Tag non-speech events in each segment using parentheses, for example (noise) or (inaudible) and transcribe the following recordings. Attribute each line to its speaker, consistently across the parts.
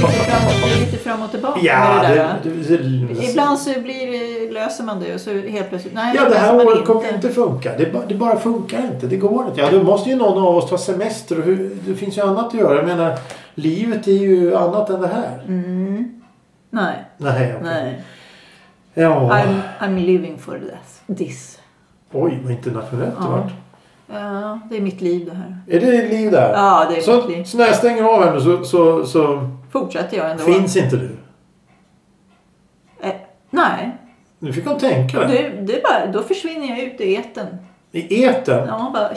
Speaker 1: Framåt, det är lite fram och tillbaka
Speaker 2: Ja,
Speaker 1: med det
Speaker 2: det,
Speaker 1: där.
Speaker 2: det, det,
Speaker 1: va? Ibland så blir, det- löser man det och så helt plötsligt, nej
Speaker 2: Ja,
Speaker 1: så
Speaker 2: det här
Speaker 1: löser man
Speaker 2: året kommer inte funka. Det, ba- det bara funkar inte. Det går inte. Ja, då måste ju någon av oss ta semester. Och hur, det finns ju annat att göra. Jag menar, livet är ju annat än det här.
Speaker 1: Mm. Nej,
Speaker 2: Nej, okej.
Speaker 1: nej.
Speaker 2: Ja.
Speaker 1: I'm, I'm living for this. this.
Speaker 2: Oj, vad internationellt det
Speaker 1: Ja.
Speaker 2: vart.
Speaker 1: Ja, det är mitt liv det här.
Speaker 2: Är det liv där?
Speaker 1: Ja, det är mitt
Speaker 2: så,
Speaker 1: liv.
Speaker 2: så när jag stänger av här nu så, så, så
Speaker 1: Fortsätter jag ändå?
Speaker 2: finns inte du.
Speaker 1: Eh, nej,
Speaker 2: Nu fick hon tänka där.
Speaker 1: det, det är bara, då försvinner jag ut i etern.
Speaker 2: I etern.
Speaker 1: Ja, bara...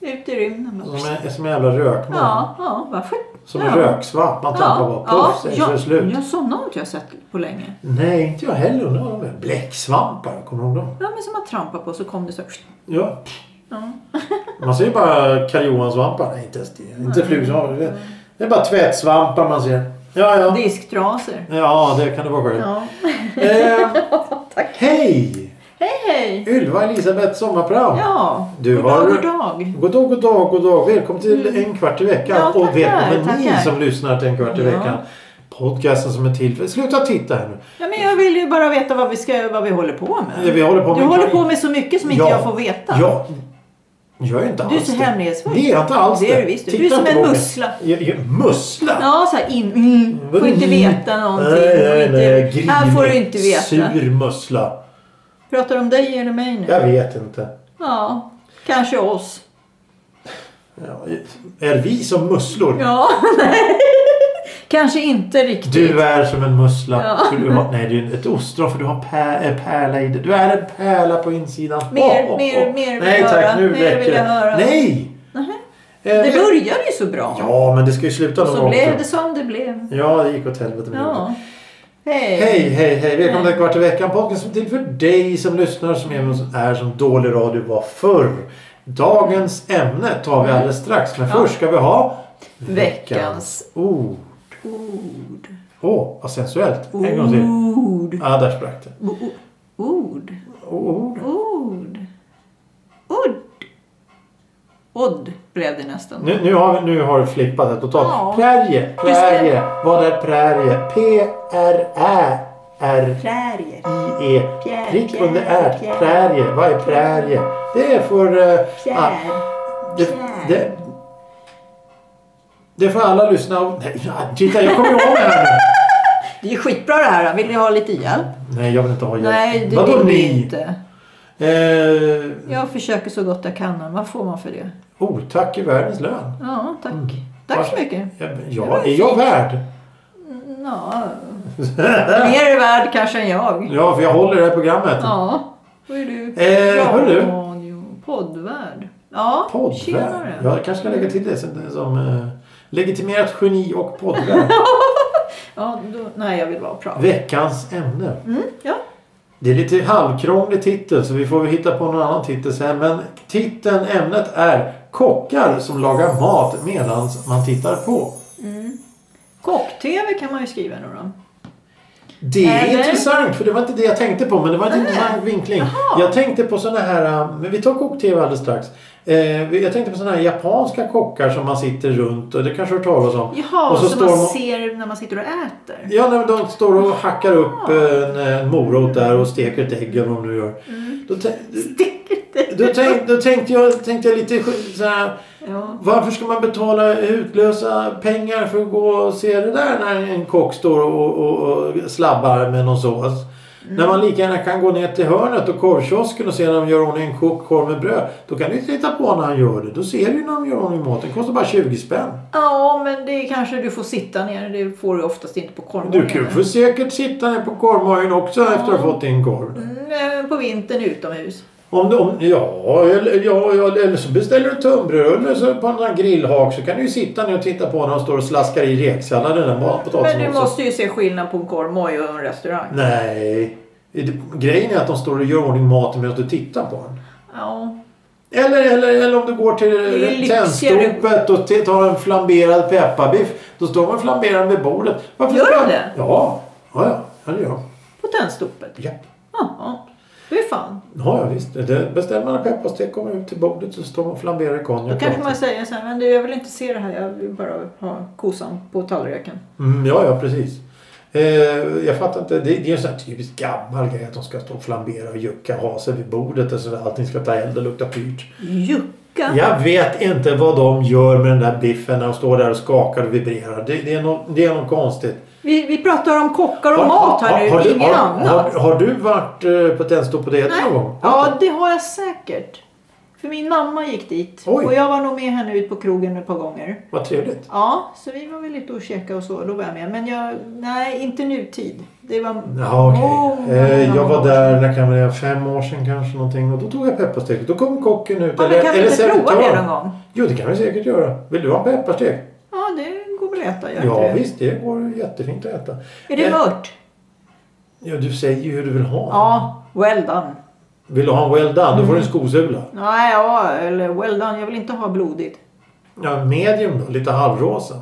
Speaker 1: Ut i rymden bara.
Speaker 2: Som en, som en jävla rökmoln.
Speaker 1: Ja, ja, varför?
Speaker 2: Som
Speaker 1: ja.
Speaker 2: en röksvamp. Man tappar bara puff. sen så är
Speaker 1: ja,
Speaker 2: det slut.
Speaker 1: ja, sådana har inte jag sett på länge.
Speaker 2: Nej, inte jag heller. Undrar vad de är. Bläcksvampar. Kommer du ihåg dem?
Speaker 1: Ja, men som man trampar på så kom det så här.
Speaker 2: Ja.
Speaker 1: Ja.
Speaker 2: (laughs) Man ser ju bara karl Johan-svampar. Nej, inte ens det. Inte flugsvampar. Det, det är bara tvättsvampar man ser. Ja, ja.
Speaker 1: Disktrasor.
Speaker 2: Ja, det kan det vara själv.
Speaker 1: Ja.
Speaker 2: Eh,
Speaker 1: (laughs)
Speaker 2: Hej!
Speaker 1: Hej, hej!
Speaker 2: Ylva Elisabeth sommarprat.
Speaker 1: Ja,
Speaker 2: Du
Speaker 1: goddag,
Speaker 2: har-
Speaker 1: goddag.
Speaker 2: God dag, god dag, god dag. Välkommen till En kvart i veckan.
Speaker 1: Mm. Ja,
Speaker 2: och
Speaker 1: tackar,
Speaker 2: välkommen ni
Speaker 1: tackar.
Speaker 2: som lyssnar till En kvart i
Speaker 1: Ja.
Speaker 2: veckan. Podcasten som är till för... Sluta titta här nu.
Speaker 1: Ja, men jag vill ju bara veta vad vi, ska, vad vi håller på med.
Speaker 2: Ja, vi håller på med-
Speaker 1: du håller på med så mycket som inte
Speaker 2: Ja.
Speaker 1: jag får veta.
Speaker 2: Ja. Jag är inte
Speaker 1: Du är
Speaker 2: alls
Speaker 1: så
Speaker 2: det.
Speaker 1: hemlighetsfull.
Speaker 2: Det är jag inte alls
Speaker 1: Det är du visst. Du är
Speaker 2: Titta
Speaker 1: som
Speaker 2: inte
Speaker 1: en
Speaker 2: på mig.
Speaker 1: mussla.
Speaker 2: Jag, jag, mussla?
Speaker 1: Ja, så här in... Mm, får inte veta någonting.
Speaker 2: Nej, nej,
Speaker 1: inte,
Speaker 2: nej. Grinig,
Speaker 1: här får du inte veta.
Speaker 2: Sur mussla.
Speaker 1: Pratar du om dig eller mig nu?
Speaker 2: Jag vet inte.
Speaker 1: Ja, kanske oss.
Speaker 2: Ja, är vi som musslor?
Speaker 1: Ja, (laughs) nej. Kanske inte riktigt.
Speaker 2: Du eh, är som en mussla.
Speaker 1: Ja.
Speaker 2: För du har, nej, det är ett ostron för du har pär, äh, pärla i det. Du är en pärla på insidan.
Speaker 1: Mer, mer, mer vill
Speaker 2: Nej
Speaker 1: jag
Speaker 2: tack,
Speaker 1: höra.
Speaker 2: nu
Speaker 1: Mer
Speaker 2: räcker
Speaker 1: vill jag
Speaker 2: det.
Speaker 1: höra.
Speaker 2: Nej! Eh,
Speaker 1: Det
Speaker 2: vi-
Speaker 1: började ju så bra.
Speaker 2: Ja, men det ska ju sluta någon
Speaker 1: så
Speaker 2: gång.
Speaker 1: blev
Speaker 2: också.
Speaker 1: det som det blev.
Speaker 2: Ja, det gick åt helvete med det.
Speaker 1: Ja. Hej.
Speaker 2: Hej, hej, hej. Välkommen
Speaker 1: Hej.
Speaker 2: till Kvart i veckan. Podden som är till för dig som lyssnar som även är som dålig radio var förr. Dagens ämne tar vi alldeles strax. Men
Speaker 1: Ja.
Speaker 2: först ska vi ha
Speaker 1: Veckans
Speaker 2: ord.
Speaker 1: ord.
Speaker 2: Åh, vad sensuellt. En gång till.
Speaker 1: Ord.
Speaker 2: Ja, där sprack det.
Speaker 1: O- o- Ord.
Speaker 2: Ord.
Speaker 1: Ord. Ord. Odd blev det nästan.
Speaker 2: Nu, nu, har vi, nu har du flippat det totalt.
Speaker 1: Ja.
Speaker 2: Prärie,
Speaker 1: Du ska-
Speaker 2: prärie. Vad är prärie? P-R-Ä-R-I-E.
Speaker 1: Prärier.
Speaker 2: Ah. E.
Speaker 1: Pjär,
Speaker 2: Prick under
Speaker 1: pjär,
Speaker 2: ärт.
Speaker 1: pjär.
Speaker 2: Prärie. Vad är prärie? Det är för... eh, ah,
Speaker 1: Fjär.
Speaker 2: det,
Speaker 1: pjär.
Speaker 2: det, det får alla lyssna av. Nej, ja, titta jag kommer ihåg det här nu.
Speaker 1: Det är ju skitbra det här. Vill ni ha lite hjälp?
Speaker 2: Nej, jag vill inte ha hjälp.
Speaker 1: Nej, det
Speaker 2: Vadå
Speaker 1: vill vi
Speaker 2: ni?
Speaker 1: inte.
Speaker 2: Eh,
Speaker 1: Jag försöker så gott jag kan. men Vad får man för det?
Speaker 2: otack i världens lön.
Speaker 1: Ja, tack.
Speaker 2: Mm.
Speaker 1: Tack så
Speaker 2: Vars-
Speaker 1: mycket.
Speaker 2: Ja,
Speaker 1: var
Speaker 2: ja, är jag värd? (laughs)
Speaker 1: Ja. Mer värd kanske än jag.
Speaker 2: Ja, för jag håller i det här programmet.
Speaker 1: Ja. Då är du
Speaker 2: Eh, hörru.
Speaker 1: radio- poddvärd. Ja,
Speaker 2: Poddvärd.
Speaker 1: tjenare.
Speaker 2: Ja, jag kanske ska lägga till det sen, som eh, legitimerat geni och
Speaker 1: (laughs)
Speaker 2: poddvärd.
Speaker 1: Ja, då, nej, jag vill bara prata.
Speaker 2: Veckans ämne.
Speaker 1: Mm, ja.
Speaker 2: Det är lite halvkrånglig titel så vi får väl hitta på någon annan titel sen. Men titeln, ämnet är kockar som lagar mat medan man tittar på.
Speaker 1: Kock-tv kan man ju skriva nu då.
Speaker 2: Det är
Speaker 1: Eller?
Speaker 2: intressant för det var inte det jag tänkte på men det var en intressant vinkling.
Speaker 1: Jaha.
Speaker 2: Jag tänkte på såna här, äh, men vi tar kock-tv alldeles strax. Eh, Jag tänkte på såna här japanska kockar som man sitter runt och det kanske du har hört talas om.
Speaker 1: Jaha,
Speaker 2: och
Speaker 1: så, man
Speaker 2: de-
Speaker 1: ser när man sitter och äter.
Speaker 2: Ja, nej, men de står och hackar upp en, en morot där och steker ett ägg eller vad de nu gör.
Speaker 1: Mm.
Speaker 2: Då, tän-
Speaker 1: (laughs)
Speaker 2: då, tänk, då tänkte, jag, tänkte jag lite sk- så här.
Speaker 1: Ja.
Speaker 2: Varför ska man betala utlösa pengar för att gå och se det där när en kock står och, och, och slabbar med någon sås?
Speaker 1: Mm.
Speaker 2: När man lika gärna kan gå ner till hörnet och korvkiosken och se när de gör ordning en kokt korv med bröd. Då kan du ju titta på när han gör det. Då ser du ju när de gör ordning maten. Det kostar bara 20 spänn.
Speaker 1: ja, men det kanske du får sitta ner. Det får du oftast inte på
Speaker 2: Du
Speaker 1: korvmorgonen.
Speaker 2: kan ju säkert sitta ner på korvmorgon också efter att ha fått din korv.
Speaker 1: Mm, på vintern utomhus.
Speaker 2: Om du, om, ja, eller, ja, ja, eller så beställer du tunnbröd så på en sån här grillhak så kan du ju sitta ner och titta på när de står och slaskar i reksalladen. Den bara potatisen
Speaker 1: Men du
Speaker 2: också.
Speaker 1: måste ju se skillnad på en korvmoj och en restaurang.
Speaker 2: Nej. Det- Grejen är att de står och gör ordning maten medan du tittar på den.
Speaker 1: Ja.
Speaker 2: Eller, eller, eller om du går
Speaker 1: är
Speaker 2: till
Speaker 1: lyxigare.
Speaker 2: Tennstopet och t- tar en flamberad pepparbiff. Då står man flamberad vid bordet. Varför
Speaker 1: Gör
Speaker 2: ska-
Speaker 1: de det?
Speaker 2: Ja, ja, ja. ja det gör de.
Speaker 1: På tändstopet?
Speaker 2: Ja.
Speaker 1: Jaha. Det är fan.
Speaker 2: Ja, ja, visst. Det beställer man en pepparstek kommer ut till bordet så står man och flamberar
Speaker 1: Då
Speaker 2: konjak.
Speaker 1: kanske man säger så här, men du jag vill inte se det här, jag vill bara ha kosan på tallriken.
Speaker 2: Mm, ja, ja, precis. Eh, jag fattar inte. Det, det är en sån här typisk gammal grej att de ska stå och flambera och jucka ha sig vid bordet och sådär. Allting ska ta eld och lukta pyrt.
Speaker 1: Jucka!
Speaker 2: Jag vet inte vad de gör med den där biffen när de står där och skakar och vibrerar. Det, det, är, no, det är något konstigt.
Speaker 1: Vi, vi pratar om kockar och mat här nu,
Speaker 2: du,
Speaker 1: inget
Speaker 2: har,
Speaker 1: annat.
Speaker 2: har, har du varit eh, på Tennstop på det
Speaker 1: Nej.
Speaker 2: någon gång?
Speaker 1: Ja, det har jag säkert. För min mamma gick dit
Speaker 2: Oj.
Speaker 1: och jag var nog med henne ut på krogen ett par gånger.
Speaker 2: Vad trevligt.
Speaker 1: Ja, så vi var väl ute och käkade och så, då var jag med. Men jag, nej, inte nutid. Det var...
Speaker 2: Jaha, okej.
Speaker 1: Åh,
Speaker 2: eh, jag var
Speaker 1: mamma.
Speaker 2: där, när kan det vara, fem år sedan kanske någonting och då tog jag pepparstek. Då kom kocken ut.
Speaker 1: Ja, men kan vi inte prova det
Speaker 2: servitören.
Speaker 1: någon gång?
Speaker 2: Jo, det kan vi säkert göra. Vill du ha en pepparstek?
Speaker 1: Ja, det går väl att äta. gör
Speaker 2: Ja,
Speaker 1: inte det?
Speaker 2: visst. Det går jättefint att äta.
Speaker 1: Är det
Speaker 2: Eh,
Speaker 1: mört?
Speaker 2: Ja, du säger ju hur du vill ha.
Speaker 1: Ja, Mm. well done.
Speaker 2: Vill du ha en well done, då får du en skosula.
Speaker 1: Nej, ja, eller well done. Jag vill inte ha blodigt.
Speaker 2: Ja, medium då, lite halvrosa.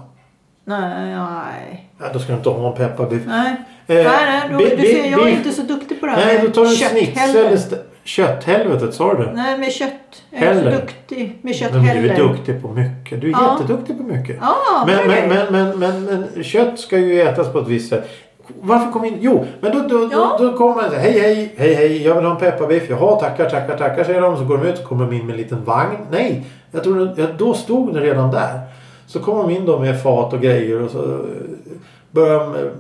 Speaker 1: Nej, nej.
Speaker 2: Ja, då ska du inte ha en pepparbiff.
Speaker 1: Nej,
Speaker 2: Eh,
Speaker 1: nej, nej då,
Speaker 2: bi-
Speaker 1: du
Speaker 2: bi-
Speaker 1: ser, jag är
Speaker 2: biff-
Speaker 1: inte så duktig på det här
Speaker 2: Nej,
Speaker 1: med
Speaker 2: då tar du en
Speaker 1: kötthelvete.
Speaker 2: snitsel istället. Kötthelvetet, sa du det?
Speaker 1: Nej, med kött. Jag är
Speaker 2: Heller.
Speaker 1: så duktig med kött
Speaker 2: Men du
Speaker 1: heller.
Speaker 2: är duktig på mycket. Du är
Speaker 1: Ja.
Speaker 2: jätteduktig på mycket.
Speaker 1: Ja,
Speaker 2: men,
Speaker 1: det är
Speaker 2: men,
Speaker 1: det.
Speaker 2: men, men, men, men kött ska ju ätas på ett visst sätt. Varför kom in? Jo, men då, då,
Speaker 1: Ja.
Speaker 2: då, då kommer man så här, hej, hej, hej, hej, jag vill ha en pepparbiff. Jaha, tackar, tackar, tackar, säger de. Så går de ut, så kommer de in med en liten vagn. Nej, jag tror, jag, då stod det redan där. Så kom de in då med fat och grejer och så eh, började de eh,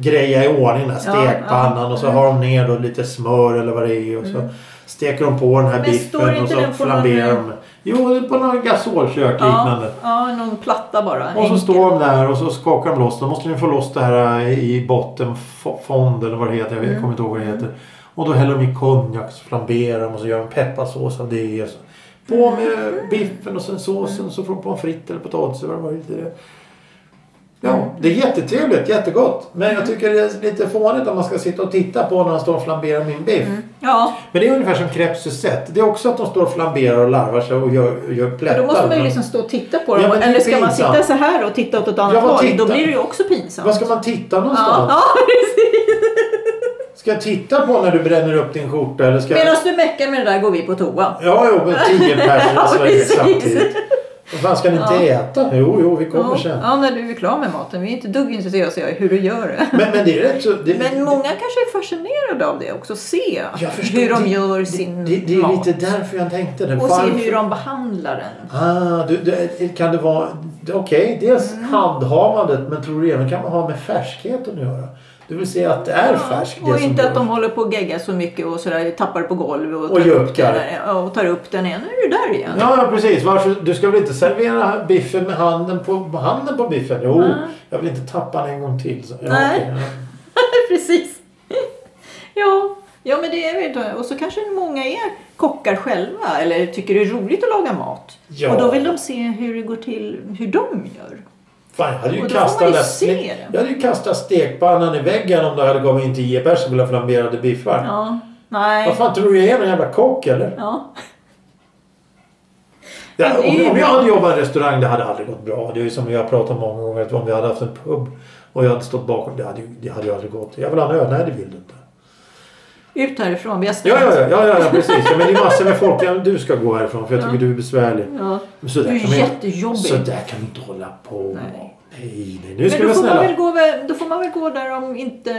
Speaker 2: greja i ordning den här
Speaker 1: Ja, Mm.
Speaker 2: stekpannan och så
Speaker 1: ja.
Speaker 2: har de ner då lite smör eller vad det är och så steker de på den här
Speaker 1: Mm. Men står
Speaker 2: biffen
Speaker 1: inte
Speaker 2: och så
Speaker 1: den på någon- eh,
Speaker 2: flamberar de. Jo, det är på någon gasolkök liknande.
Speaker 1: ja, ja, någon platta bara.
Speaker 2: Och så
Speaker 1: Enkel.
Speaker 2: står de där och så skakar de loss. Då måste de få loss det här eh, i bottenfond eller vad det heter. Jag
Speaker 1: Mm.
Speaker 2: vet- kommer inte ihåg vad det heter. Och då häller de i konjak så flamberar de och så gör de pepparsås av det. Och så. På
Speaker 1: Mm.
Speaker 2: med biffen och sen såsen så får de pommes frites eller potatis eller vad det är. Ja,
Speaker 1: Mm.
Speaker 2: det är jättetrevligt, jättegott. Men jag tycker det är lite fånigt om man ska sitta och titta på när han står och flamberar min biff.
Speaker 1: Mm. Ja,
Speaker 2: Men det är ungefär som crepes Suzette. Det är också att de står och flamberar och larvar sig och gör, gör plättar.
Speaker 1: för då måste man ju
Speaker 2: Men-
Speaker 1: liksom stå och titta på
Speaker 2: Ja,
Speaker 1: dem.
Speaker 2: men det är
Speaker 1: Eller ska man
Speaker 2: pinsamt.
Speaker 1: sitta så här och titta åt ett annat
Speaker 2: Ja, vad
Speaker 1: håll? Då
Speaker 2: titta?
Speaker 1: blir det ju också pinsamt.
Speaker 2: Var ska man titta
Speaker 1: (laughs)
Speaker 2: någonstans?
Speaker 1: ja, ja, precis.
Speaker 2: Ska jag titta på när du bränner upp din skjorta eller ska jag...
Speaker 1: Medan du meckar med det där går vi på toa.
Speaker 2: Ja, jo, men tio
Speaker 1: (laughs) Ja,
Speaker 2: personer ja,
Speaker 1: precis.
Speaker 2: samtidigt. Vad fan ska ni inte äta? Jo, jo, vi kommer
Speaker 1: Ja,
Speaker 2: sen.
Speaker 1: ja, när du är klar med maten. Vi är inte dugg intresserade av att se hur du gör det.
Speaker 2: Men, men det är rätt så... Det,
Speaker 1: Men många kanske är fascinerade av det också. Se
Speaker 2: Jag förstår,
Speaker 1: hur de
Speaker 2: det-
Speaker 1: gör
Speaker 2: det-
Speaker 1: sin
Speaker 2: det, det är
Speaker 1: mat.
Speaker 2: lite därför jag tänkte det.
Speaker 1: Och se
Speaker 2: Varför-
Speaker 1: hur de behandlar den.
Speaker 2: Ah, du, du, kan det vara... Okej, dels
Speaker 1: Mm.
Speaker 2: handhavandet men tror du även kan man ha med färskheten att göra? Du vill se att det är färskt det
Speaker 1: och
Speaker 2: som
Speaker 1: inte att
Speaker 2: görs.
Speaker 1: de håller på och geggar så mycket och sådär, tappar på golvet och,
Speaker 2: Och
Speaker 1: tar upp
Speaker 2: juckar.
Speaker 1: den där- ja, och tar upp den igen. Nu är du där igen.
Speaker 2: Ja, ja, precis. Varför? Du ska väl inte servera biffen med handen på, med handen på biffen? Jo, jag vill inte tappa den en gång till. Så. Ja,
Speaker 1: Nej.
Speaker 2: okej, ja.
Speaker 1: (laughs) Precis. ja. ja, men det är väl det. Och så kanske många är kockar själva eller tycker det är roligt att laga mat.
Speaker 2: Ja.
Speaker 1: Och då vill de se hur det går till, hur de gör.
Speaker 2: Fan, jag hade ju
Speaker 1: Och då får man
Speaker 2: kastat
Speaker 1: ju
Speaker 2: den där
Speaker 1: se
Speaker 2: stek-
Speaker 1: det.
Speaker 2: Jag hade ju kastat stekpannan i väggen om du hade gav mig in tio pers som ville ha flamberade biffar.
Speaker 1: Ja. Nej.
Speaker 2: Vad fan tror du jag är någon jävla kock eller?
Speaker 1: Ja.
Speaker 2: Ja,
Speaker 1: Men det är ju
Speaker 2: om, om jag
Speaker 1: bra.
Speaker 2: hade jobbat i en restaurang, det hade aldrig gått bra. Det är ju som jag har pratat om många gånger, att om vi hade haft en pub och jag hade stått bakom, det hade ju det hade ju aldrig gått. Jag vill ha en öl, nej det vill du inte.
Speaker 1: Ut härifrån, vi har stängt.
Speaker 2: Ja, ja, ja, ja, ja precis. Ja, men det är massor med folk. Ja, men du ska gå härifrån för jag tycker du är besvärlig.
Speaker 1: Ja.
Speaker 2: Men sådär
Speaker 1: Du är
Speaker 2: kan man-
Speaker 1: jättejobbig.
Speaker 2: Sådär kan vi inte hålla på.
Speaker 1: Nej.
Speaker 2: Nej, nej, nu ska
Speaker 1: Men då
Speaker 2: vi vara
Speaker 1: får, man
Speaker 2: snälla.
Speaker 1: väl gå, väl- då får man väl gå där om inte,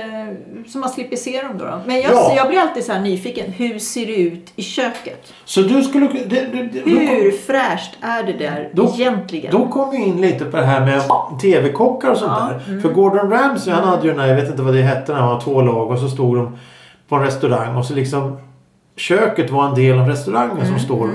Speaker 1: så man slipper se dem då. då. Men jag,
Speaker 2: Ja.
Speaker 1: jag blir alltid så här nyfiken. Hur ser det ut i köket?
Speaker 2: Så du skulle... Det, det, det, då kom-
Speaker 1: Hur fräscht är det där
Speaker 2: Då-
Speaker 1: egentligen?
Speaker 2: Då kom vi in lite på det här med TV-kockar och sånt
Speaker 1: Ja, mm.
Speaker 2: där. För Gordon Ramsay han hade ju den här, jag vet inte vad det hette, när han var två lag och så stod de på en restaurang och så liksom köket var en del av restaurangen
Speaker 1: Mm,
Speaker 2: som står.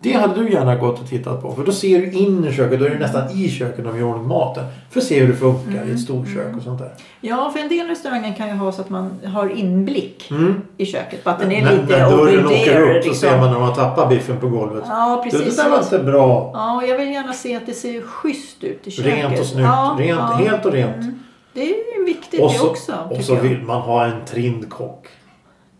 Speaker 2: Det hade du gärna gått och tittat på för då ser du in i köket, då är det nästan i köket de gör ordning maten. För att se hur det funkar
Speaker 1: Mm,
Speaker 2: i ett storkök och sånt där.
Speaker 1: Ja, för en del restauranger kan ju ha så att man har inblick i köket. På att den är
Speaker 2: när,
Speaker 1: lite
Speaker 2: när
Speaker 1: over
Speaker 2: Mm. dörren åker
Speaker 1: there.
Speaker 2: upp
Speaker 1: Liksom.
Speaker 2: så ser man när man tappar biffen på golvet.
Speaker 1: Ja,
Speaker 2: det, det
Speaker 1: precis.
Speaker 2: där var inte bra.
Speaker 1: Ja, och jag vill gärna se att det ser schysst ut i köket.
Speaker 2: Rent och snyggt.
Speaker 1: Ja,
Speaker 2: rent,
Speaker 1: ja.
Speaker 2: Helt och rent.
Speaker 1: Det är ju viktigt
Speaker 2: Och
Speaker 1: det
Speaker 2: så,
Speaker 1: också.
Speaker 2: och
Speaker 1: tycker
Speaker 2: så
Speaker 1: jag.
Speaker 2: vill man ha en trind kock.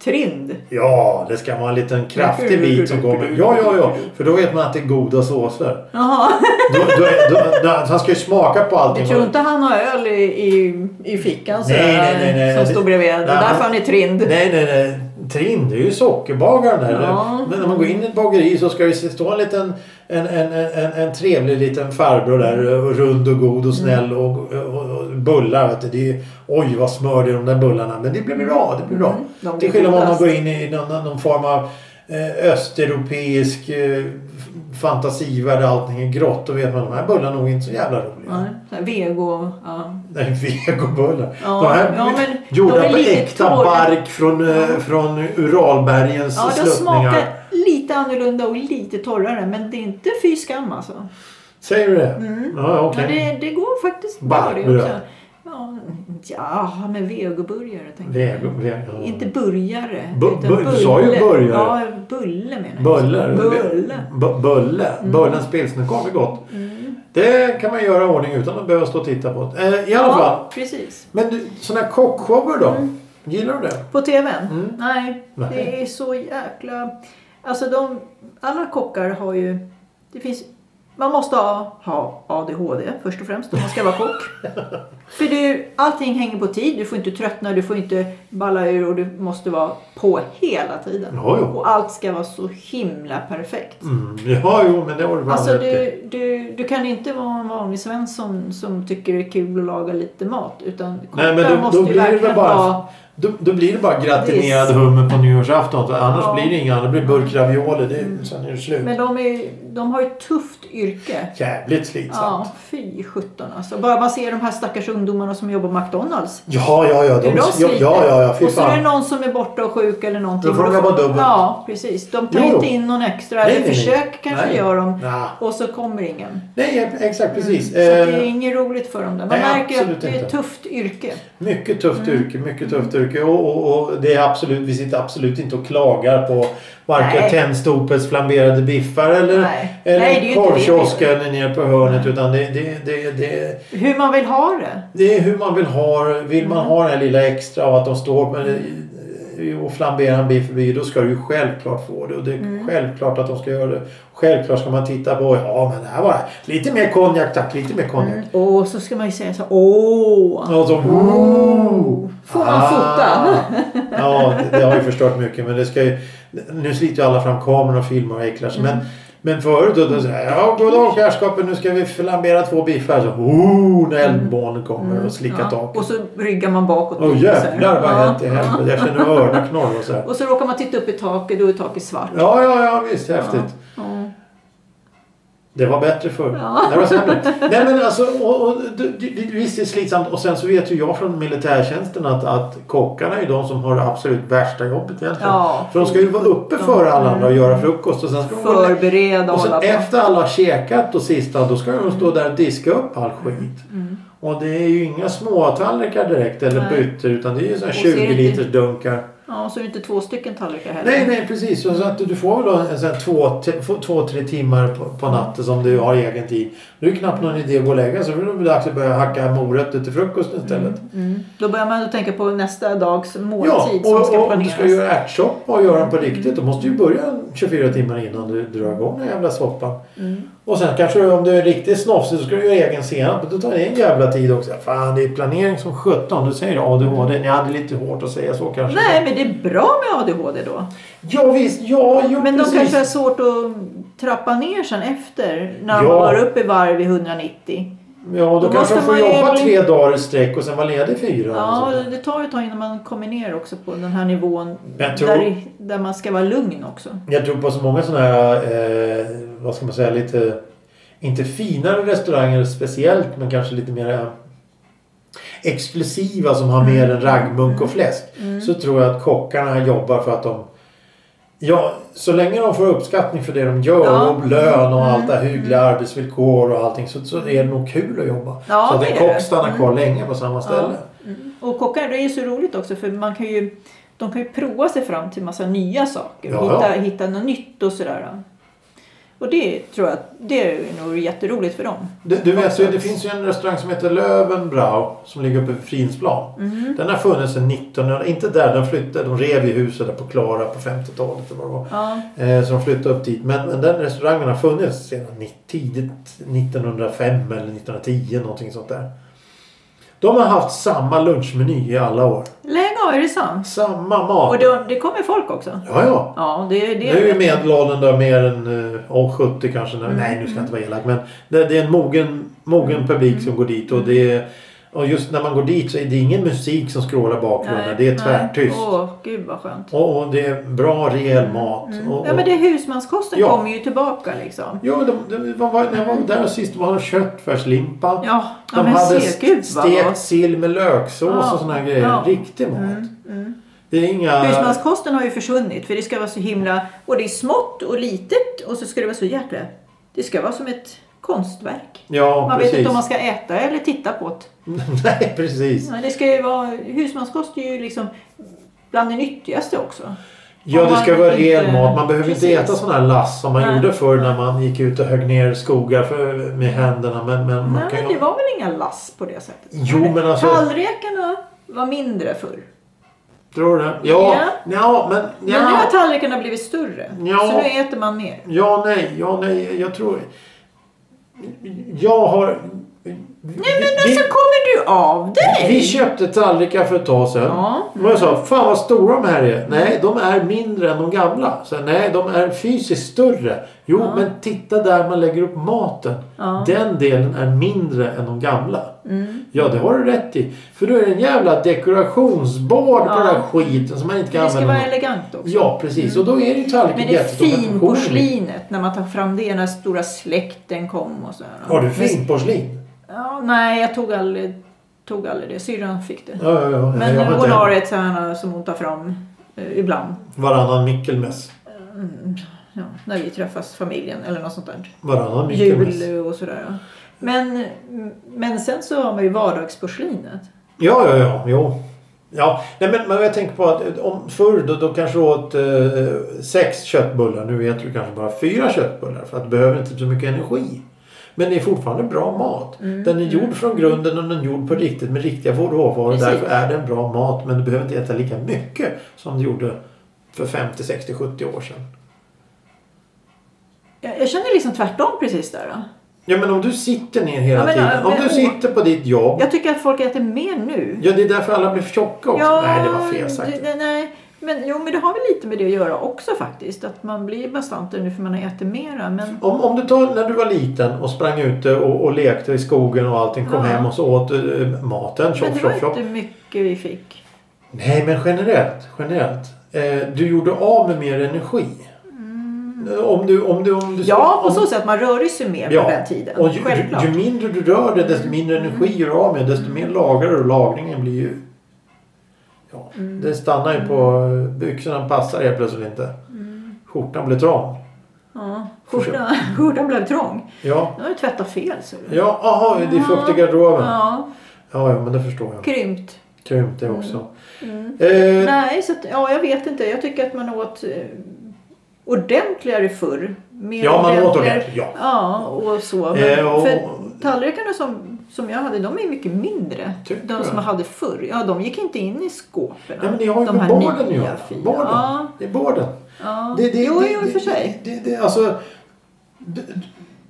Speaker 1: trind.
Speaker 2: Ja, det ska vara en liten kraftig bit som kommer. Ja, ja, ja. För då vet man att det är goda såser.
Speaker 1: Jaha,
Speaker 2: Då, då, då, då, han ska ju smaka på allting.
Speaker 1: jag tror inte han har öl i, i, i fickan så
Speaker 2: Nej, nej, nej, nej.
Speaker 1: som står bredvid. Det är
Speaker 2: Nej,
Speaker 1: därför
Speaker 2: han-
Speaker 1: han är trind.
Speaker 2: (laughs) Nej, nej, nej. Trind, det är ju sockerbagaren där.
Speaker 1: Ja.
Speaker 2: Men när man går in i ett bageri så ska det stå en liten en, en, en, en, en trevlig liten farbror där. och Rund och god och snäll
Speaker 1: Mm.
Speaker 2: och, och, och bullar. Vet du. Det är, oj, vad smör det är i de där bullarna. Men det blir bra. Det blir bra.
Speaker 1: Mm, de
Speaker 2: Till
Speaker 1: blir
Speaker 2: skillnad från om man
Speaker 1: godast.
Speaker 2: går in i någon, någon form av eh, östeuropeisk eh, f- fantasivärld där allting är grått. Då vet man att de här bullarna är nog inte så jävla roliga.
Speaker 1: Ja, så här Vego. Ja.
Speaker 2: Nej, (laughs) vegobullar.
Speaker 1: Ja,
Speaker 2: de här
Speaker 1: ja, men
Speaker 2: gjorda
Speaker 1: de är
Speaker 2: på
Speaker 1: lite
Speaker 2: äkta
Speaker 1: torra.
Speaker 2: bark från, eh, från Uralbergens
Speaker 1: Ja, de
Speaker 2: sluttningar.
Speaker 1: smakar lite annorlunda och lite torrare men det är inte fy skam alltså.
Speaker 2: Säger du det? Ja, okej.
Speaker 1: Men Mm. det, det går faktiskt bra det
Speaker 2: Barkbröd.
Speaker 1: också. Ja, ja men vegoburgare tänker jag.
Speaker 2: Vego- vego-
Speaker 1: Inte burgare.
Speaker 2: Bu-
Speaker 1: utan
Speaker 2: bu- du sa ju
Speaker 1: bulle.
Speaker 2: burgare.
Speaker 1: Ja, bulle menar jag.
Speaker 2: Buller.
Speaker 1: Bulle. Mm.
Speaker 2: Bu- Bulle. Bullens pilsnerkorv är gott. Det kan man göra i ordning utan att behöva stå och titta på. det. Eh, I alla fall.
Speaker 1: Ja, Mm. precis.
Speaker 2: Men du, såna här kockshower då? Gillar du det?
Speaker 1: På tvn?
Speaker 2: Mm.
Speaker 1: Nej,
Speaker 2: Nej.
Speaker 1: det är så jäkla... Alltså de... Alla kockar har ju... Det finns... Man måste ha, ha ADHD först och främst om man ska vara
Speaker 2: (laughs)
Speaker 1: kock. För du, allting hänger på tid. Du får inte tröttna, du får inte balla ur och du måste vara på hela tiden.
Speaker 2: Ja, jo.
Speaker 1: Och allt ska vara så himla perfekt.
Speaker 2: Mm. Ja, jo, men det har du fan
Speaker 1: Alltså
Speaker 2: rätt i.
Speaker 1: du, du, du kan inte vara en vanlig svensson som tycker det är kul att laga lite mat. Utan kockar
Speaker 2: Nej, men då,
Speaker 1: måste
Speaker 2: då,
Speaker 1: ju
Speaker 2: blir det väl
Speaker 1: verkligen
Speaker 2: bara,
Speaker 1: vara...
Speaker 2: då, då blir det bara gratinerad hummer på nyårsafton. Annars
Speaker 1: Ja. Mm.
Speaker 2: blir det inga. Det blir burkravioler. Det, Sen är det slut.
Speaker 1: Men de, är, de har ju ett tufft yrke.
Speaker 2: Jävligt slitsamt.
Speaker 1: Ja, fy sjutton alltså. Bara man ser de här stackars ungdomarna som jobbar på McDonalds.
Speaker 2: Ja, ja, ja.
Speaker 1: Hur
Speaker 2: De,
Speaker 1: de
Speaker 2: ja,
Speaker 1: sliter.
Speaker 2: ja, ja, ja. Fy
Speaker 1: och så är det
Speaker 2: fan.
Speaker 1: någon som är borta och sjuk eller någonting.
Speaker 2: Då får de
Speaker 1: Och då-
Speaker 2: jobba dubbelt.
Speaker 1: Ja, precis. De tar
Speaker 2: Jo, jo.
Speaker 1: inte in någon extra.
Speaker 2: Nej,
Speaker 1: eller
Speaker 2: nej, nej.
Speaker 1: försök kanske
Speaker 2: Nej.
Speaker 1: gör de.
Speaker 2: Nah.
Speaker 1: Och så kommer ingen.
Speaker 2: Nej, exakt precis.
Speaker 1: Mm. Så det är
Speaker 2: Eh,
Speaker 1: inget roligt för dem. Där. Man
Speaker 2: nej,
Speaker 1: märker ju
Speaker 2: absolut
Speaker 1: att det är
Speaker 2: inte.
Speaker 1: ett tufft yrke.
Speaker 2: Mycket
Speaker 1: Mm.
Speaker 2: tufft yrke, mycket tufft yrke. Och, och, och det är absolut, vi sitter absolut inte och klagar på varken
Speaker 1: Nej.
Speaker 2: Tennstopets flamberade biffar eller,
Speaker 1: Nej.
Speaker 2: eller
Speaker 1: Nej, det är ju inte det. Mm.
Speaker 2: korvkiosken nere på hörnet. Utan det, det, det, det,
Speaker 1: Hur man vill ha det.
Speaker 2: det är hur man vill ha Vill man ha det här lilla extra av att de står med, och flamberar en biff förbi, då ska du ju självklart få det. Och det är
Speaker 1: Mm.
Speaker 2: självklart att de ska göra det. Självklart ska man titta på, ja men det här var lite mer konjak tack, lite mer konjak.
Speaker 1: Mm. Och så ska man ju säga så här, åh.
Speaker 2: Och så, "Ooh."
Speaker 1: Mm.
Speaker 2: Ah.
Speaker 1: Får man fota?
Speaker 2: ja, det, det har ju förstört mycket. Men det ska ju, nu sliter ju alla fram kameran och filmar och äcklar sig.
Speaker 1: Mm.
Speaker 2: Men, men förut då, då så här, ja goddag herrskapet nu ska vi flambera två biffar. Så, oh, när eldmånen kommer och slickar
Speaker 1: Mm. Ja,
Speaker 2: taket.
Speaker 1: Och så ryggar man bakåt.
Speaker 2: Åh
Speaker 1: lite så här.
Speaker 2: jävlar vad
Speaker 1: Ja.
Speaker 2: hett i helvete. Jag känner hur öronen knorrar och så här.
Speaker 1: Och så råkar man titta upp i taket, då är taket svart.
Speaker 2: Ja, ja, ja visst. Häftigt.
Speaker 1: Ja.
Speaker 2: Det var bättre förr.
Speaker 1: Ja.
Speaker 2: Det var sämre. Nej men alltså, och, och, det- det- visst det är slitsamt. Och sen så vet ju jag från militärtjänsten att, att kockarna är ju de som har det absolut värsta jobbet egentligen.
Speaker 1: Ja. Mm.
Speaker 2: För de ska ju vara uppe före alla andra och göra frukost. Och sen ska de gå och lä-
Speaker 1: Förbereda
Speaker 2: och
Speaker 1: och
Speaker 2: sen
Speaker 1: hålla på.
Speaker 2: efter alla har käkat och sista, då ska de stå där och diska upp all skit.
Speaker 1: Mm.
Speaker 2: Och det är ju inga små tallrikar direkt eller
Speaker 1: Nej.
Speaker 2: bytter utan det är ju sådana
Speaker 1: så är det
Speaker 2: 20
Speaker 1: inte-
Speaker 2: liters dunkar.
Speaker 1: Ja, och så är det inte två stycken tallrikar heller.
Speaker 2: Nej, nej precis. Så att du får väl då en sån här två, t- få- två, tre timmar på, på natten som du har egen tid. Nu är det knappt någon idé att gå och lägga sig. För då är det dags att börja hacka morötter till frukosten istället.
Speaker 1: Mm. Då börjar man att tänka på nästa dags
Speaker 2: Ja,
Speaker 1: måltid som
Speaker 2: och,
Speaker 1: ska
Speaker 2: och om du
Speaker 1: planeras. Mm.
Speaker 2: ska göra ärtsoppa och göra den på riktigt. Då måste du ju börja 24 timmar innan du drar igång den jävla soppan.
Speaker 1: Mm.
Speaker 2: Och sen kanske du, om du är riktigt snofsig så ska du göra egen senap. Då tar det en jävla tid också. Fan, det är planering som 17. Du säger ADHD. Ni hade lite hårt att säga så kanske.
Speaker 1: Nej, men det är bra med ADHD då.
Speaker 2: Ja, visst. Ja, jo,
Speaker 1: Men
Speaker 2: precis.
Speaker 1: de kanske har svårt att trappa ner sen efter när
Speaker 2: Ja.
Speaker 1: man var uppe i varv i 190.
Speaker 2: Ja, då,
Speaker 1: Då
Speaker 2: kanske
Speaker 1: måste
Speaker 2: de får
Speaker 1: man ju
Speaker 2: jobba
Speaker 1: bli-
Speaker 2: tre dagar i sträck och sen vara ledig fyra. alltså.
Speaker 1: Ja,
Speaker 2: eller så.
Speaker 1: det tar ju ett tag innan man kommer ner också på den här nivån
Speaker 2: Jag tror-
Speaker 1: där, där man ska vara lugn också.
Speaker 2: Jag tror på så många sådana här, eh, vad ska man säga, lite, inte finare restauranger speciellt, men kanske lite mer eh, exklusiva som har
Speaker 1: Mm.
Speaker 2: mer än raggmunk och fläsk. Så tror jag att kockarna jobbar för att de, ja, så länge de får uppskattning för det de gör
Speaker 1: Ja. Mm.
Speaker 2: och lön och allt det här, hyggliga arbetsvillkor och allting så, så är det nog kul att jobba.
Speaker 1: Ja,
Speaker 2: så att
Speaker 1: det
Speaker 2: en
Speaker 1: är det. Mm.
Speaker 2: kock stannar kvar länge på samma ställe.
Speaker 1: Och kockar, det är så roligt också för man kan ju, de kan ju prova sig fram till massa nya saker.
Speaker 2: Ja,
Speaker 1: hitta,
Speaker 2: ja.
Speaker 1: hitta något nytt och sådär. Och det tror jag det är nog jätteroligt för dem.
Speaker 2: Du, du vet, ju, det finns ju en restaurang som heter Löwenbrau som ligger uppe vid Fridhemsplan.
Speaker 1: Mm.
Speaker 2: Den har funnits sedan 1900, inte där, den flyttade, de rev i huset där på Klara på 50-talet eller vad det var.
Speaker 1: Ja.
Speaker 2: Eh, så de flyttade upp dit. Men, men den restaurangen har funnits sedan ni- tidigt 1905 eller 1910 någonting sånt där. De har haft samma lunchmeny i alla år.
Speaker 1: Länge av, är det sant?
Speaker 2: Samma mat.
Speaker 1: Och då, det kommer folk också?
Speaker 2: Ja, ja.
Speaker 1: Ja, det, det
Speaker 2: Nu är ju medelåldern då mer än eh, åh, 70 kanske. Nej, Nej,
Speaker 1: Mm.
Speaker 2: nu ska jag inte vara elak. Men det, det är en mogen, mogen publik som går dit.
Speaker 1: Mm.
Speaker 2: Och, det är, och just när man går dit så är det ingen musik som skrålar bakgrunden. Det är
Speaker 1: nej.
Speaker 2: tvärtyst.
Speaker 1: Åh, gud vad skönt.
Speaker 2: Och, och det är bra, rejäl mat. Och,
Speaker 1: Mm.
Speaker 2: och,
Speaker 1: Ja, men det husmanskosten
Speaker 2: Ja.
Speaker 1: kommer ju tillbaka liksom.
Speaker 2: Jo, de, de, vad var, när jag var där sist var det köttfärslimpa.
Speaker 1: Ja, ja
Speaker 2: De
Speaker 1: men
Speaker 2: hade
Speaker 1: se, gud vad
Speaker 2: stekt
Speaker 1: gott.
Speaker 2: sill med löksås
Speaker 1: Ja,
Speaker 2: och såna här grejer.
Speaker 1: ja. Mm,
Speaker 2: Riktig mat. Det är inga...
Speaker 1: Husmanskosten har ju försvunnit för det ska vara så himla... Och det är smått och litet och så ska det vara så jäkla... Det ska vara som ett konstverk.
Speaker 2: Ja,
Speaker 1: Man
Speaker 2: precis.
Speaker 1: vet inte om man ska äta eller titta på det.
Speaker 2: (laughs) Nej, precis.
Speaker 1: Ja, det ska ju vara, husmanskost är ju liksom bland det nyttigaste också.
Speaker 2: Ja,
Speaker 1: Om
Speaker 2: det ska
Speaker 1: man
Speaker 2: vara rejäl
Speaker 1: inte-
Speaker 2: mat. Man behöver inte
Speaker 1: Precis.
Speaker 2: äta sån här lass som man
Speaker 1: Nej.
Speaker 2: gjorde förr när man gick ut och högg ner skogar för, med händerna. Men, men man
Speaker 1: Nej,
Speaker 2: kan
Speaker 1: men det
Speaker 2: ju...
Speaker 1: var väl inga lass på det sättet?
Speaker 2: Jo, men alltså-
Speaker 1: Tallrikarna var mindre förr.
Speaker 2: Tror du det? Ja,
Speaker 1: Ja.
Speaker 2: ja men...
Speaker 1: Men nu har
Speaker 2: Ja,
Speaker 1: tallrikarna blivit större.
Speaker 2: Ja.
Speaker 1: Så nu äter man mer.
Speaker 2: ja nej, ja, nej. Jag tror... Jag har... Nej,
Speaker 1: Nej men alltså kommer du av dig?
Speaker 2: Vi köpte tallrikar för ett tag sedan.
Speaker 1: Ja.
Speaker 2: Och jag sa, fan vad stora de här är. Nej, de är mindre än de gamla. Så, nej, de är fysiskt större. Jo, men titta där man lägger upp maten.
Speaker 1: Ja. Mm.
Speaker 2: Den delen är mindre än de gamla. Ja, det har du rätt i. För då är det en jävla dekorationsbord på
Speaker 1: Ja.
Speaker 2: den här skiten som man inte kan
Speaker 1: det ska
Speaker 2: använda.
Speaker 1: vara
Speaker 2: någon-
Speaker 1: elegant också.
Speaker 2: Ja, precis. Och då är det ju
Speaker 1: Men
Speaker 2: tallriken
Speaker 1: det
Speaker 2: jättestor, men portionen är-
Speaker 1: finporslinet när man tar fram det när stora släkten kom och sådär.
Speaker 2: Har du finporslin?
Speaker 1: Ja, nej, jag tog aldrig, tog aldrig det. Syrran fick det.
Speaker 2: Ja, ja, ja.
Speaker 1: Men
Speaker 2: jag
Speaker 1: hon
Speaker 2: har
Speaker 1: har
Speaker 2: inte
Speaker 1: ett sånt som hon tar fram eh, ibland.
Speaker 2: varannan mickelmäss.
Speaker 1: Ja, när vi träffas familjen eller något sånt där.
Speaker 2: Varannan mickelmäss.
Speaker 1: Jul och sådär. ja. Men, men sen så har man ju vardagsporslinet.
Speaker 2: Ja, ja, ja. Jo. Ja, nej, men, men jag tänker på att eh, om förr då, då kanske du åt eh, sex köttbullar. Nu äter du kanske bara fyra köttbullar för att du behöver inte så mycket energi. Men det är fortfarande bra mat.
Speaker 1: Mm,
Speaker 2: Den är gjord från grunden och den är gjord på riktigt med riktiga råvaror.
Speaker 1: Precis.
Speaker 2: Därför är den bra mat men du behöver inte äta lika mycket som du gjorde för 50, 60, 70 år sedan.
Speaker 1: Jag, jag känner liksom tvärtom precis där. Då.
Speaker 2: Ja men om du sitter ner hela
Speaker 1: Ja, men,
Speaker 2: tiden.
Speaker 1: ja,
Speaker 2: om
Speaker 1: men-
Speaker 2: du sitter på ditt jobb.
Speaker 1: Jag tycker att folk äter mer nu.
Speaker 2: Ja det är därför alla blir tjocka också. nej det var fel sagt.
Speaker 1: det- det- nej, men, jo, men det har väl lite med det att göra också faktiskt. Att man blir bastantare nu för man har ätit mera. Men
Speaker 2: Om, om du tar när du var liten och sprang ute och, och lekte i skogen och allting kom
Speaker 1: Ja.
Speaker 2: hem och så åt du eh, maten.
Speaker 1: Men
Speaker 2: Tjoff,
Speaker 1: det var
Speaker 2: tjoff, tjoff.
Speaker 1: inte mycket vi fick.
Speaker 2: Nej men generellt. generellt. Eh, du gjorde av med mer energi. Eh, Om du, om du, om du,
Speaker 1: Mm. Ja, på
Speaker 2: om,
Speaker 1: så sätt. Man rörde sig mer
Speaker 2: Ja,
Speaker 1: på den tiden.
Speaker 2: Och ju,
Speaker 1: Självklart. Mm.
Speaker 2: ju, ju mindre du rör dig desto mindre energi gör du av med. Desto mer lagrar du. Lagringen blir ju... Ja,
Speaker 1: Mm.
Speaker 2: Det stannar ju på... Byxorna passar helt plötsligt inte.
Speaker 1: Mm.
Speaker 2: Skjortan blir trång.
Speaker 1: ja, skjortan, skjortan blev trång.
Speaker 2: Ja,
Speaker 1: Nu har du tvättat fel. Så.
Speaker 2: ja aha, det är fukt i garderoben. Ja.
Speaker 1: Ja,
Speaker 2: Ja, men det förstår jag.
Speaker 1: krympt.
Speaker 2: Krympt det också.
Speaker 1: Mm.
Speaker 2: Eh,
Speaker 1: Nej, så att, ja, jag vet inte. Jag tycker att man åt eh, ordentligare förr. Mer
Speaker 2: ja, man åt
Speaker 1: ordentligare.
Speaker 2: ordentligt. Ja.
Speaker 1: Ja, och så. Men
Speaker 2: Eh, och-
Speaker 1: För tallrikarna som, som jag hade, de är mycket mindre.
Speaker 2: Tycker
Speaker 1: De som
Speaker 2: jag.
Speaker 1: jag hade förr. Ja, de gick inte in i skåpen.
Speaker 2: Nej, men det har ju
Speaker 1: de
Speaker 2: med barnen att göra.
Speaker 1: fina.
Speaker 2: Barnen.
Speaker 1: Ja,
Speaker 2: Det är barnen.
Speaker 1: ja.
Speaker 2: Det, det,
Speaker 1: jo,
Speaker 2: det-
Speaker 1: jo, i och för
Speaker 2: det-
Speaker 1: sig.
Speaker 2: Det, det, alltså, d-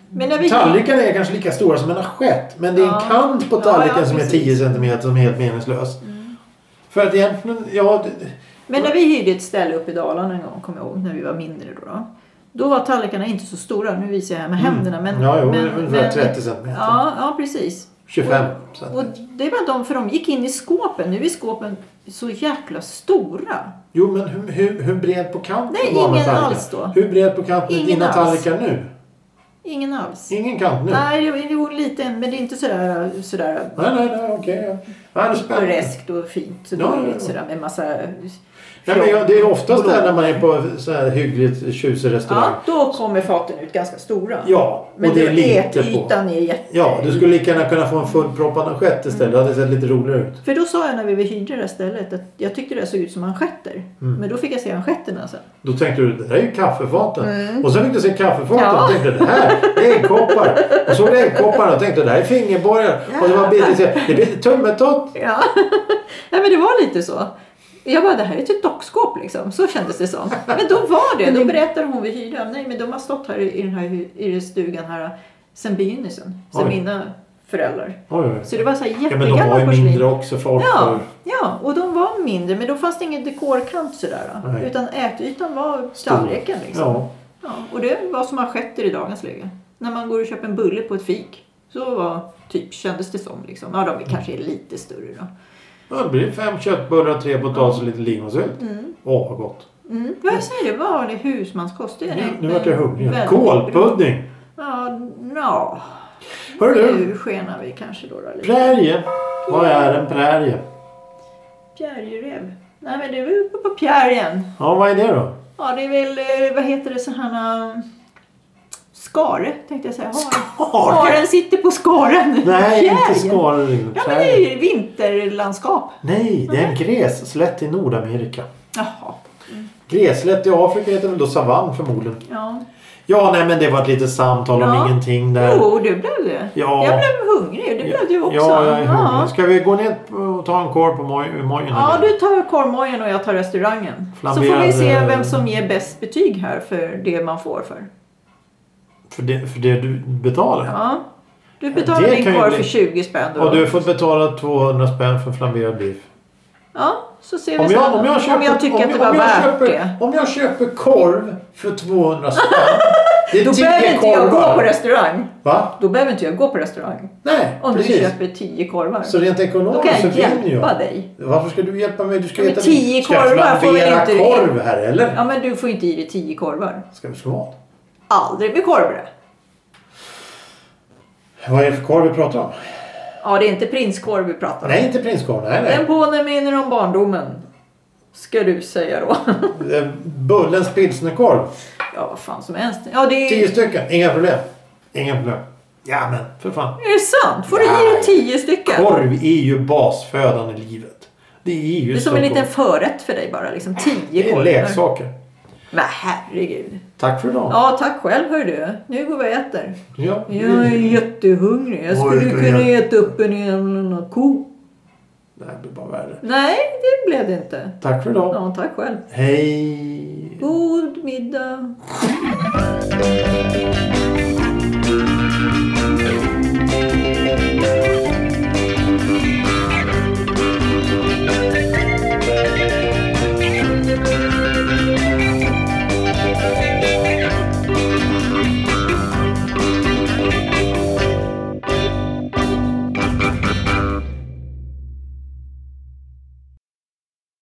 Speaker 1: Men när vi
Speaker 2: tallrikarna är kanske lika stora som en assiett. Men det är en
Speaker 1: Ja.
Speaker 2: kant på
Speaker 1: Ja,
Speaker 2: tallriken
Speaker 1: ja,
Speaker 2: som är
Speaker 1: precis. Mm.
Speaker 2: 10 cm som är helt meningslös. För att egentligen, ja... det-
Speaker 1: Men när vi hyrde ett ställe uppe i Dalarna en gång, kommer jag ihåg, när vi var mindre då. Då, då var tallrikarna inte så stora, nu visar jag här med händerna. Men,
Speaker 2: Mm. Ja, jo, ungefär 30 centimeter.
Speaker 1: Ja, ja precis.
Speaker 2: 25
Speaker 1: Och
Speaker 2: cm.
Speaker 1: det var de, för de gick in i skåpen. Nu är skåpen så jäkla stora.
Speaker 2: Jo, men hur, hur, hur bred på kanten
Speaker 1: Nej,
Speaker 2: var den här
Speaker 1: ingen
Speaker 2: tallriken?
Speaker 1: alls då.
Speaker 2: Hur bred på kanten är
Speaker 1: Ingen
Speaker 2: dina
Speaker 1: alls.
Speaker 2: tallrikar nu?
Speaker 1: Ingen alls.
Speaker 2: Ingen kant nu?
Speaker 1: Nej, det var, det var liten, men det är inte sådär, sådär
Speaker 2: nej, nej, nej okej. ja. Nej, det är spännande.
Speaker 1: pittoreskt och fint. Så
Speaker 2: Ja,
Speaker 1: dåligt
Speaker 2: ja, ja.
Speaker 1: Sådär, med massa
Speaker 2: Nej, men jag, det är oftast där när man är på så här hyggligt tjusig restaurang.
Speaker 1: Ja, då kommer faten ut ganska stora.
Speaker 2: Ja,
Speaker 1: Men
Speaker 2: och det är lite på.
Speaker 1: ätytan är jätte...
Speaker 2: Ja, du skulle lika gärna kunna få en fullproppad manschett
Speaker 1: Mm.
Speaker 2: istället. Det hade sett lite roligare ut.
Speaker 1: För då sa jag när vi hyrde det här stället att jag tyckte det såg ut som manschetter.
Speaker 2: Mm.
Speaker 1: Men då fick jag se manschetterna sen.
Speaker 2: Då tänkte du, det där är ju kaffefaten.
Speaker 1: Mm.
Speaker 2: Och sen fick du se kaffefaten
Speaker 1: Ja.
Speaker 2: och tänkte, det här är äggkoppar. Och såg du äggkopparna och tänkte, det här är fingerborgar. Och det var bilder, det blir tummetott.
Speaker 1: Ja. (laughs) ja, men det var lite så. Jag bara, det här är ett dockskåp liksom. Så kändes det som. Men då var det. Då berättade hon vid hyran. Nej, men de har stått här i i den här hy- i stugan här sen begynnelsen. Sen
Speaker 2: Oj.
Speaker 1: mina föräldrar.
Speaker 2: Oj, oj.
Speaker 1: Så det var så här
Speaker 2: Ja, men de var
Speaker 1: jättegamla
Speaker 2: ju
Speaker 1: porslin.
Speaker 2: mindre också folk.
Speaker 1: Ja,
Speaker 2: för-
Speaker 1: ja, och de var mindre. Men då fanns det ingen dekorkant sådär.
Speaker 2: Nej.
Speaker 1: Utan ätytan var tallriken liksom.
Speaker 2: Ja.
Speaker 1: Ja, och det var som manschetter i dagens läge. När man går och köper en bulle på ett fik. Så var, typ, kändes det som. Liksom. Ja, de kanske är lite större då.
Speaker 2: Ja, det blir fem köttbullar, tre potatis och lite lingonsylt. Åh, vad gott.
Speaker 1: Mm. Vad jag säger, det var vanlig husmanskost. Det är
Speaker 2: Nu,
Speaker 1: en-
Speaker 2: nu vart jag hungrig.
Speaker 1: väldigt-
Speaker 2: Kålpudding!
Speaker 1: Ja, nja.
Speaker 2: Hör du?
Speaker 1: Nu skenar vi kanske då. då lite.
Speaker 2: Prärie. Vad är en prärie?
Speaker 1: Fjärjeräv. Nej, men det var uppe på fjärjen.
Speaker 2: Ja, vad är det då?
Speaker 1: Ja, det är väl, eh, vad heter det, så här... eh, Skare, tänkte jag säga. Har-
Speaker 2: Skare?
Speaker 1: Haren sitter på skaren.
Speaker 2: Nej, inte
Speaker 1: Fjärjen.
Speaker 2: skare.
Speaker 1: Ja, men det är ju vinterlandskap.
Speaker 2: Nej, det är en grässlätt i Nordamerika.
Speaker 1: Jaha.
Speaker 2: Grässlätt i Afrika heter väl då savann förmodligen.
Speaker 1: Ja.
Speaker 2: Ja, nej men det var ett litet samtal om
Speaker 1: Ja.
Speaker 2: ingenting där.
Speaker 1: Jo, du blev det.
Speaker 2: Eh. Ja.
Speaker 1: Jag blev hungrig. Det blev du också.
Speaker 2: Ja, jag är hungrig.
Speaker 1: ja.
Speaker 2: Ska vi gå ner och ta en korv på moj- mojen?
Speaker 1: ja,
Speaker 2: igen?
Speaker 1: du tar korvmojen och jag tar restaurangen. Så får vi
Speaker 2: Flamberad,
Speaker 1: se
Speaker 2: eh,
Speaker 1: vem som ger bäst betyg här för det man får för.
Speaker 2: För, det, för det du betalar?
Speaker 1: Ja. Du betalar
Speaker 2: det
Speaker 1: din
Speaker 2: kan ju
Speaker 1: korv
Speaker 2: bli-
Speaker 1: för 20 spänn då.
Speaker 2: Och du får betala 200 spänn för flamberad biff.
Speaker 1: Ja, så ser vi
Speaker 2: Om jag,
Speaker 1: sen.
Speaker 2: om jag, köper,
Speaker 1: om jag tycker att det
Speaker 2: om
Speaker 1: var
Speaker 2: jag
Speaker 1: värt
Speaker 2: köper,
Speaker 1: det.
Speaker 2: Om jag köper korv för
Speaker 1: (laughs)
Speaker 2: 200 spänn. Det är
Speaker 1: Då
Speaker 2: 10
Speaker 1: behöver inte jag
Speaker 2: korvar.
Speaker 1: gå på restaurang.
Speaker 2: Va?
Speaker 1: Då behöver inte jag gå på restaurang.
Speaker 2: Nej,
Speaker 1: Om
Speaker 2: precis.
Speaker 1: du köper 10 korvar.
Speaker 2: Så rent
Speaker 1: Då
Speaker 2: ekonomiskt så
Speaker 1: kan jag
Speaker 2: vinner
Speaker 1: hjälpa
Speaker 2: jag.
Speaker 1: dig.
Speaker 2: Varför ska du hjälpa mig? Du ska
Speaker 1: Men
Speaker 2: äta
Speaker 1: tio
Speaker 2: ska jag
Speaker 1: korvar får väl
Speaker 2: flambera
Speaker 1: inte du-
Speaker 2: korv här eller?
Speaker 1: Ja, men du får inte i dig 10 korvar.
Speaker 2: Ska vi slå vad?
Speaker 1: Aldrig med korvbröd.
Speaker 2: Vad är det för korv vi pratar om?
Speaker 1: Ja, det är inte prinskorv vi pratar om.
Speaker 2: Nej, inte prinskorv. Nej, nej.
Speaker 1: Den påminner om barndomen. Ska du säga då.
Speaker 2: Eh, Bullens pilsnerkorv.
Speaker 1: ja, vad fan som helst. Ja, det är...
Speaker 2: Tio stycken. Inga problem. Inga problem. Ja, men för fan.
Speaker 1: Är det sant? Får du i dig
Speaker 2: Nej.
Speaker 1: tio stycken?
Speaker 2: Korv är ju basfödan i livet. Det är ju
Speaker 1: Det är som
Speaker 2: så
Speaker 1: en liten
Speaker 2: gott.
Speaker 1: förrätt för dig bara. Liksom.
Speaker 2: Det
Speaker 1: Tio
Speaker 2: är
Speaker 1: korvar.
Speaker 2: leksaker.
Speaker 1: Men herregud.
Speaker 2: Tack för idag.
Speaker 1: Ja, tack själv hör du. Nu går vi och äter.
Speaker 2: Ja.
Speaker 1: Jag är
Speaker 2: Mm.
Speaker 1: jättehungrig. Jag
Speaker 2: Oj,
Speaker 1: skulle
Speaker 2: vilken
Speaker 1: kunna
Speaker 2: jävla-
Speaker 1: äta upp en jävla ko.
Speaker 2: Det här blir bara värre.
Speaker 1: Nej, det blev det inte.
Speaker 2: Tack för idag.
Speaker 1: Ja, tack själv.
Speaker 2: Hej!
Speaker 1: God middag.